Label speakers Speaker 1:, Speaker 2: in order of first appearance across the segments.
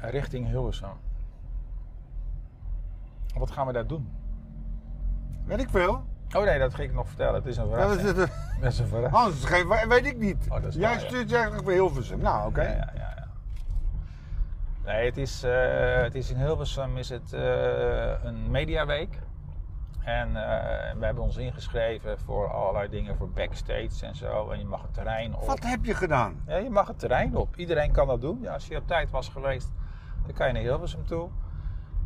Speaker 1: richting Hilversum. Wat gaan we daar doen?
Speaker 2: Weet ik veel.
Speaker 1: Oh nee, dat ging ik nog vertellen. Het is een
Speaker 2: Dat
Speaker 1: verrassing.
Speaker 2: is het.
Speaker 1: Dat is een verrassing.
Speaker 2: Hans, dat geeft- we- weet ik niet.
Speaker 1: Oh, dat is
Speaker 2: Jij
Speaker 1: waar, ja.
Speaker 2: stuurt je eigenlijk voor Hilversum. Nou, oké.
Speaker 1: Ja, ja, ja, ja. Nee, het is, eh, het is in Hilversum is het eh, een mediaweek. En eh, we hebben ons ingeschreven voor allerlei dingen, voor backstage en zo. En je mag het terrein op.
Speaker 2: Wat heb je gedaan?
Speaker 1: Ja, je mag het terrein op. Iedereen kan dat doen. Ja, als je op tijd was geweest, dan kan je naar Hilversum toe.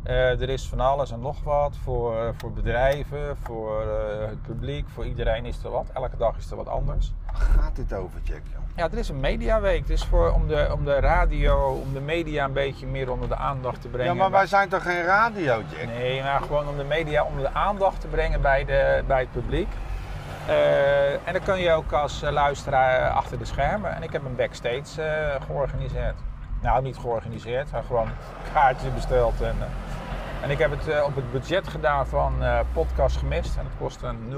Speaker 1: Eh, er is van alles en nog wat voor, eh, voor bedrijven, voor eh, het publiek, voor iedereen is er wat. Elke dag is er wat anders.
Speaker 2: Waar gaat dit over, Jack? joh?
Speaker 1: Ja, er is een mediaweek. Het is voor, om, de, om de radio, om de media een beetje meer onder de aandacht te brengen.
Speaker 2: Ja, maar wij zijn toch geen radio, Jack?
Speaker 1: Nee, maar gewoon om de media onder de aandacht te brengen bij, de, bij het publiek. Eh, en dan kun je ook als eh, luisteraar achter de schermen. En ik heb een backstage eh, georganiseerd. Nou, niet georganiseerd, maar gewoon kaartje besteld. En, eh, en ik heb het eh, op het budget gedaan van eh, Podcast Gemist. En het kostte 0,0.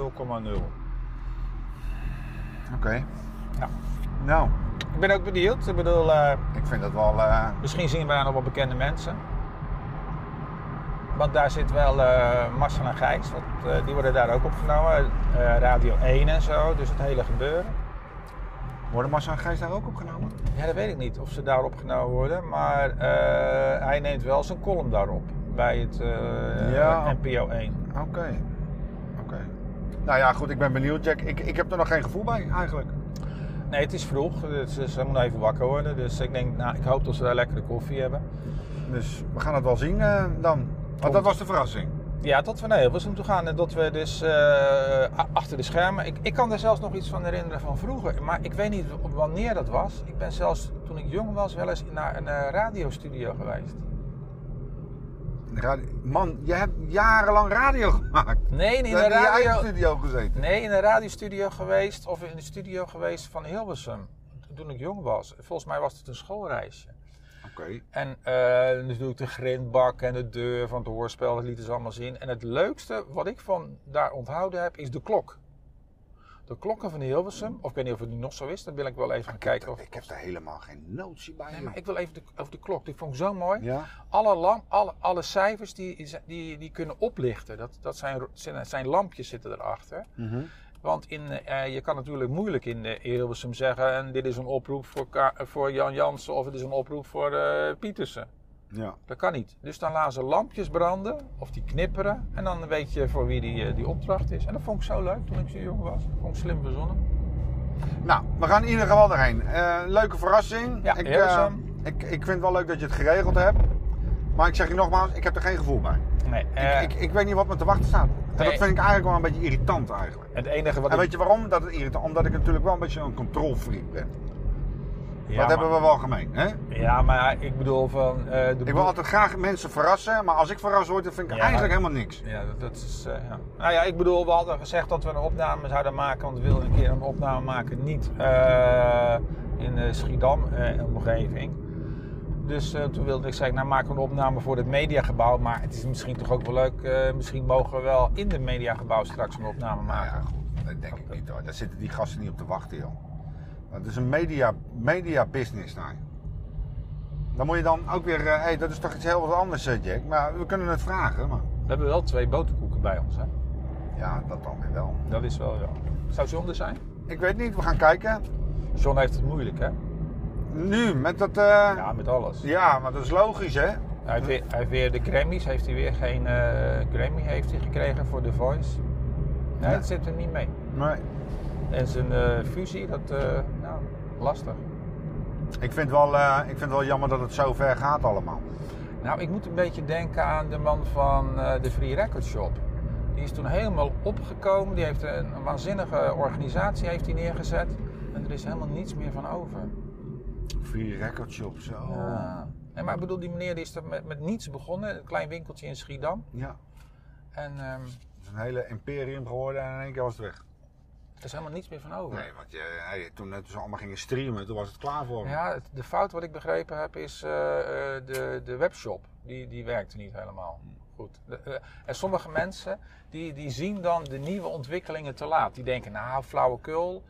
Speaker 2: Oké.
Speaker 1: Nou.
Speaker 2: Nou,
Speaker 1: Ik ben ook benieuwd. Ik bedoel, eh,
Speaker 2: ik vind dat wel... eh,
Speaker 1: Misschien zien we daar nog wel bekende mensen. Want daar zit wel eh Marcel en Gijs, want, eh, die worden daar ook opgenomen. Eh, Radio 1 en zo, dus het hele gebeuren.
Speaker 2: Worden Massa en Gijs daar ook opgenomen?
Speaker 1: Ja, dat weet ik niet of ze daar opgenomen worden, maar eh, hij neemt wel zijn column daarop. Bij het eh,
Speaker 2: Ja.
Speaker 1: NPO 1.
Speaker 2: Oké. Oké. Nou ja, goed, ik ben benieuwd, Jack. Ik, ik heb er nog geen gevoel bij, eigenlijk.
Speaker 1: Nee, het is vroeg, dus ze moeten even wakker worden. Dus ik denk, nou, ik hoop dat ze daar lekkere koffie hebben.
Speaker 2: Dus we gaan het wel zien eh, dan. Want dat was de verrassing.
Speaker 1: Ja, dat we naar Hilversum toe gaan en dat we dus eh, a- achter de schermen. Ik, ik kan er zelfs nog iets van herinneren van vroeger, maar ik weet niet w- wanneer dat was. Ik ben zelfs toen ik jong was wel eens naar een eh, radiostudio geweest.
Speaker 2: Radio- Man, jij hebt jarenlang radio gemaakt.
Speaker 1: Nee, in
Speaker 2: In
Speaker 1: de
Speaker 2: in je eigen
Speaker 1: radio.
Speaker 2: studio gezeten.
Speaker 1: Nee, in een radiostudio geweest of in de studio geweest van Hilversum. Toen ik jong was. Volgens mij was het een schoolreisje.
Speaker 2: Oké.
Speaker 1: En eh natuurlijk de grindbak en de deur van het hoorspel, dat lieten ze allemaal zien. En het leukste wat ik van daar onthouden heb, is de klok. De klokken van Hilversum, of ik weet niet of het nu nog zo is, dan wil ik wel even gaan kijken. Of...
Speaker 2: Ik heb daar helemaal geen notie bij.
Speaker 1: Nee,
Speaker 2: joh.
Speaker 1: maar ik wil even de, over de klok, die vond ik zo mooi.
Speaker 2: Ja?
Speaker 1: Alle, lam, alle, alle cijfers die, die, die kunnen oplichten, dat, dat zijn, zijn- zijn lampjes zitten erachter.
Speaker 2: Mhm.
Speaker 1: Want in, eh, je kan natuurlijk moeilijk in de Hilversum zeggen, en dit is een oproep voor, Ka- voor Jan Jansen of het is een oproep voor eh, Pietersen.
Speaker 2: Ja.
Speaker 1: Dat kan niet. Dus dan laten ze lampjes branden of die knipperen. En dan weet je voor wie die, eh, die opdracht is. En dat vond ik zo leuk toen ik zo jong was. Dat vond ik slim verzonnen.
Speaker 2: Nou, we gaan in ieder geval erheen. Eh, leuke verrassing.
Speaker 1: Ja,
Speaker 2: ik,
Speaker 1: heel
Speaker 2: eh,
Speaker 1: gezellig.
Speaker 2: ik, ik vind het wel leuk dat je het geregeld hebt. Maar ik zeg je nogmaals, ik heb er geen gevoel bij.
Speaker 1: Nee, eh,
Speaker 2: Ik, ik weet niet wat me te wachten staat. En
Speaker 1: Nee.
Speaker 2: dat vind ik eigenlijk wel een beetje irritant eigenlijk.
Speaker 1: het enige wat
Speaker 2: En
Speaker 1: ik...
Speaker 2: weet je waarom dat het irritant? Omdat ik natuurlijk wel een beetje een controlfreak ben.
Speaker 1: ja,
Speaker 2: dat
Speaker 1: maar,
Speaker 2: hebben we wel gemeen, hè?
Speaker 1: Ja, maar ik bedoel van... eh, de
Speaker 2: Ik
Speaker 1: boel-
Speaker 2: wil altijd graag mensen verrassen, maar als ik verrast word, dan vind ik
Speaker 1: Ja.
Speaker 2: eigenlijk helemaal niks.
Speaker 1: Ja, dat, dat is... eh, ja. Nou ja, ik bedoel, we hadden gezegd dat we een opname zouden maken. Want we wilden een keer een opname maken. Niet eh, in de Schiedam eh, omgeving. Dus eh, toen wilde ik zeggen, nou maken we een opname voor het mediagebouw. Maar het is misschien toch ook wel leuk. eh, misschien mogen we wel in het mediagebouw straks een opname
Speaker 2: Nou
Speaker 1: maken.
Speaker 2: ja, goed, dat denk ik niet hoor. Daar zitten die gasten niet op te wachten, joh. Dat is een media, media business, nou. Dan moet je dan ook weer, hé, hey, dat is toch iets heel wat anders, eh, Jack. Maar we kunnen het vragen, maar
Speaker 1: We hebben wel twee boterkoeken bij ons, hè?
Speaker 2: ja, dat dan weer wel.
Speaker 1: Dat is wel wel. Zou zonde zijn?
Speaker 2: Ik weet niet, we gaan kijken.
Speaker 1: John heeft het moeilijk, hè?
Speaker 2: Nu, met dat, eh,
Speaker 1: Ja, met alles.
Speaker 2: ja, maar dat is logisch, hè?
Speaker 1: Hij heeft weer, hij heeft weer de Grammys, heeft hij weer geen eh, Grammy heeft hij gekregen voor The Voice. Nee,
Speaker 2: Ja.
Speaker 1: dat zit er niet mee.
Speaker 2: Nee.
Speaker 1: En zijn eh, fusie, dat, eh, nou, lastig.
Speaker 2: Ik vind, wel, eh, ik vind wel jammer dat het zo ver gaat allemaal.
Speaker 1: Nou, ik moet een beetje denken aan de man van eh, de Free Record Shop. Die is toen helemaal opgekomen. Die heeft een, een waanzinnige organisatie heeft hij neergezet. En er is helemaal niets meer van over.
Speaker 2: Free record shop, zo.
Speaker 1: Ja. Nee, Eh, maar ik bedoel, die meneer die is er met, met niets begonnen. Een klein winkeltje in Schiedam.
Speaker 2: Ja,
Speaker 1: En ehm,
Speaker 2: het is een hele imperium geworden en in één keer was het weg.
Speaker 1: er is helemaal niets meer van over.
Speaker 2: Nee, want je, hey, toen, toen ze allemaal gingen streamen, toen was het klaar voor. me.
Speaker 1: Ja, het- de fout wat ik begrepen heb is eh, eh, de, de webshop. Die, die werkte niet helemaal goed. De- eh, en sommige mensen die, die zien dan de nieuwe ontwikkelingen te laat. Die denken, nou, flauwekul.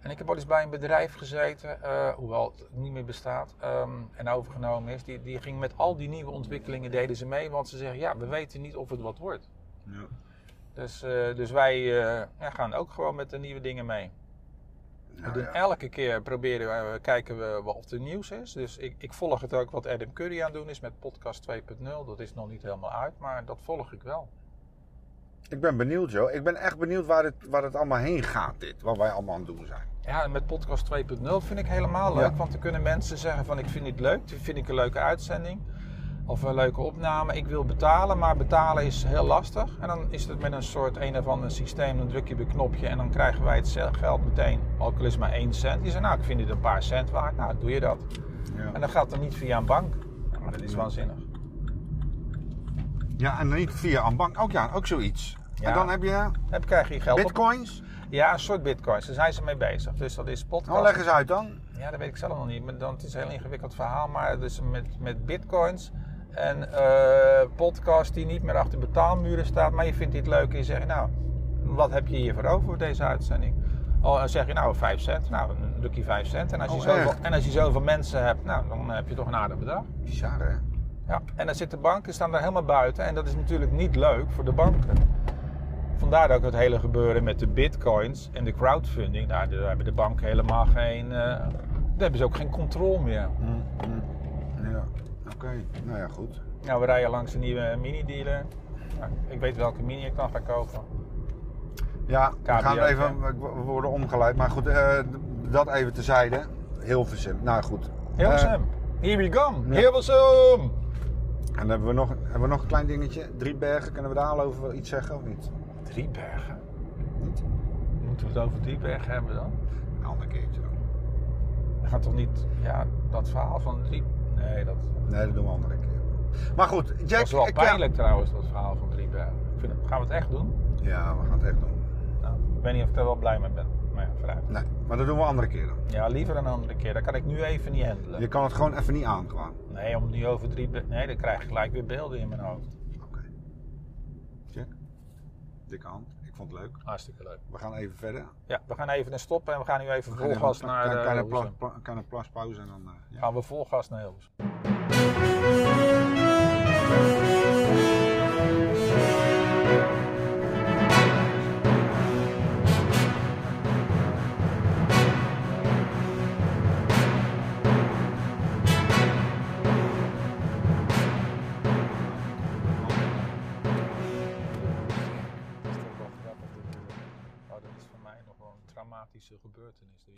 Speaker 1: En ik heb wel eens bij een bedrijf gezeten, eh, hoewel het niet meer bestaat ehm, en overgenomen is. Die, die ging met al die nieuwe ontwikkelingen deden ze mee, want ze zeggen ja, we weten niet of het wat wordt.
Speaker 2: Ja.
Speaker 1: Dus, eh, dus wij eh, ja, gaan ook gewoon met de nieuwe dingen mee. We
Speaker 2: Nou
Speaker 1: doen
Speaker 2: ja.
Speaker 1: elke keer proberen we, eh, kijken we wat er nieuws is. Dus ik, ik volg het ook wat Adam Curry aan het doen is met podcast 2.0. Dat is nog niet helemaal uit, maar dat volg ik wel.
Speaker 2: Ik ben benieuwd, joh. Ik ben echt benieuwd waar het, waar het allemaal heen gaat, dit. Wat wij allemaal aan het doen zijn.
Speaker 1: Ja, en met podcast 2.0 vind ik helemaal leuk.
Speaker 2: Ja.
Speaker 1: Want dan kunnen mensen zeggen van ik vind dit leuk, dit vind ik een leuke uitzending. Of een leuke opname. Ik wil betalen, maar betalen is heel lastig. En dan is het met een soort een of ander systeem. Dan druk je op een knopje en dan krijgen wij het ze- geld meteen. Ook al is het maar 1 cent. Je zegt nou ik vind dit een paar cent waard. Nou doe je dat.
Speaker 2: Ja.
Speaker 1: En dan gaat het niet via een bank. Ja, maar dat is
Speaker 2: Ja.
Speaker 1: waanzinnig.
Speaker 2: Ja, en niet via een bank. Ook ja, ook zoiets.
Speaker 1: Ja.
Speaker 2: En dan heb je
Speaker 1: Dan krijg je geld op.
Speaker 2: bitcoins.
Speaker 1: Ja, een soort bitcoins. Daar zijn ze mee bezig. Dus dat is podcast.
Speaker 2: Nou, leg eens uit dan.
Speaker 1: Ja, dat weet ik zelf nog niet. Maar dan, het is een heel ingewikkeld verhaal. Maar dus met, met bitcoins en eh podcast die niet meer achter betaalmuren staat. Maar je vindt dit leuk en je zegt, nou, wat heb je hiervoor over voor deze uitzending? Oh, dan zeg je, nou, 5 cent. Nou, dan druk je 5 cent. En als, je
Speaker 2: Oh,
Speaker 1: zoveel,
Speaker 2: echt?
Speaker 1: en als je zoveel mensen hebt, nou, dan heb je toch een aardig bedrag.
Speaker 2: Bizar, hè?
Speaker 1: Ja, en dan zitten banken staan daar helemaal buiten. En dat is natuurlijk niet leuk voor de banken. Vandaar ook het hele gebeuren met de bitcoins en de crowdfunding. Nou, daar hebben de banken helemaal geen. eh, daar hebben ze ook geen controle meer.
Speaker 2: Hm. Ja. Oké. Nou ja, goed.
Speaker 1: Nou, we rijden langs een nieuwe mini-dealer. Nou, ik weet welke mini ik dan ga kopen.
Speaker 2: Ja, we
Speaker 1: KBO,
Speaker 2: gaan even
Speaker 1: hè?
Speaker 2: we worden omgeleid. Maar goed, eh, dat even tezijde. Hilversum. Nou goed. Eh,
Speaker 1: Hilversum. Here we come.
Speaker 2: ja.
Speaker 1: Hilversum.
Speaker 2: en dan hebben we, nog, hebben we nog een klein dingetje. Drie bergen. Kunnen we daar al over iets zeggen of niet?
Speaker 1: Driebergen.
Speaker 2: Niet?
Speaker 1: Moeten we het over Driebergen hebben dan?
Speaker 2: Een ander keertje dan.
Speaker 1: Dat gaat toch niet. Ja, dat verhaal van Drie. Nee, dat.
Speaker 2: Nee, dat doen we een andere keer. Maar goed, Jack.
Speaker 1: Dat is wel
Speaker 2: ik-
Speaker 1: pijnlijk trouwens, dat verhaal van Driebergen. Ik vind het- Gaan we het echt doen?
Speaker 2: Ja, ja, we gaan het echt doen.
Speaker 1: Nou, ik weet niet of ik daar wel blij mee ben. Maar ja, vooruit.
Speaker 2: Nee, maar dat doen we een andere keer dan.
Speaker 1: Ja, liever een andere keer. Dat kan ik nu even niet handelen.
Speaker 2: Je kan het gewoon even niet aan gewoon.
Speaker 1: Nee, om nu over drie... be- Nee, dan krijg ik gelijk weer beelden in mijn hoofd.
Speaker 2: Oké. Check. Dikke hand. Ik vond het leuk.
Speaker 1: Hartstikke leuk.
Speaker 2: We gaan even verder.
Speaker 1: Ja, we gaan even naar stoppen en we gaan nu even
Speaker 2: We gaan
Speaker 1: volgas
Speaker 2: even-
Speaker 1: naar...
Speaker 2: kan-
Speaker 1: eh,
Speaker 2: kan een
Speaker 1: Hilversum.
Speaker 2: plas- pla- Kan een plaspauze en dan... eh, ja.
Speaker 1: Gaan we volgas naar Hilversum. Oh, dat is voor mij nog wel een traumatische gebeurtenis.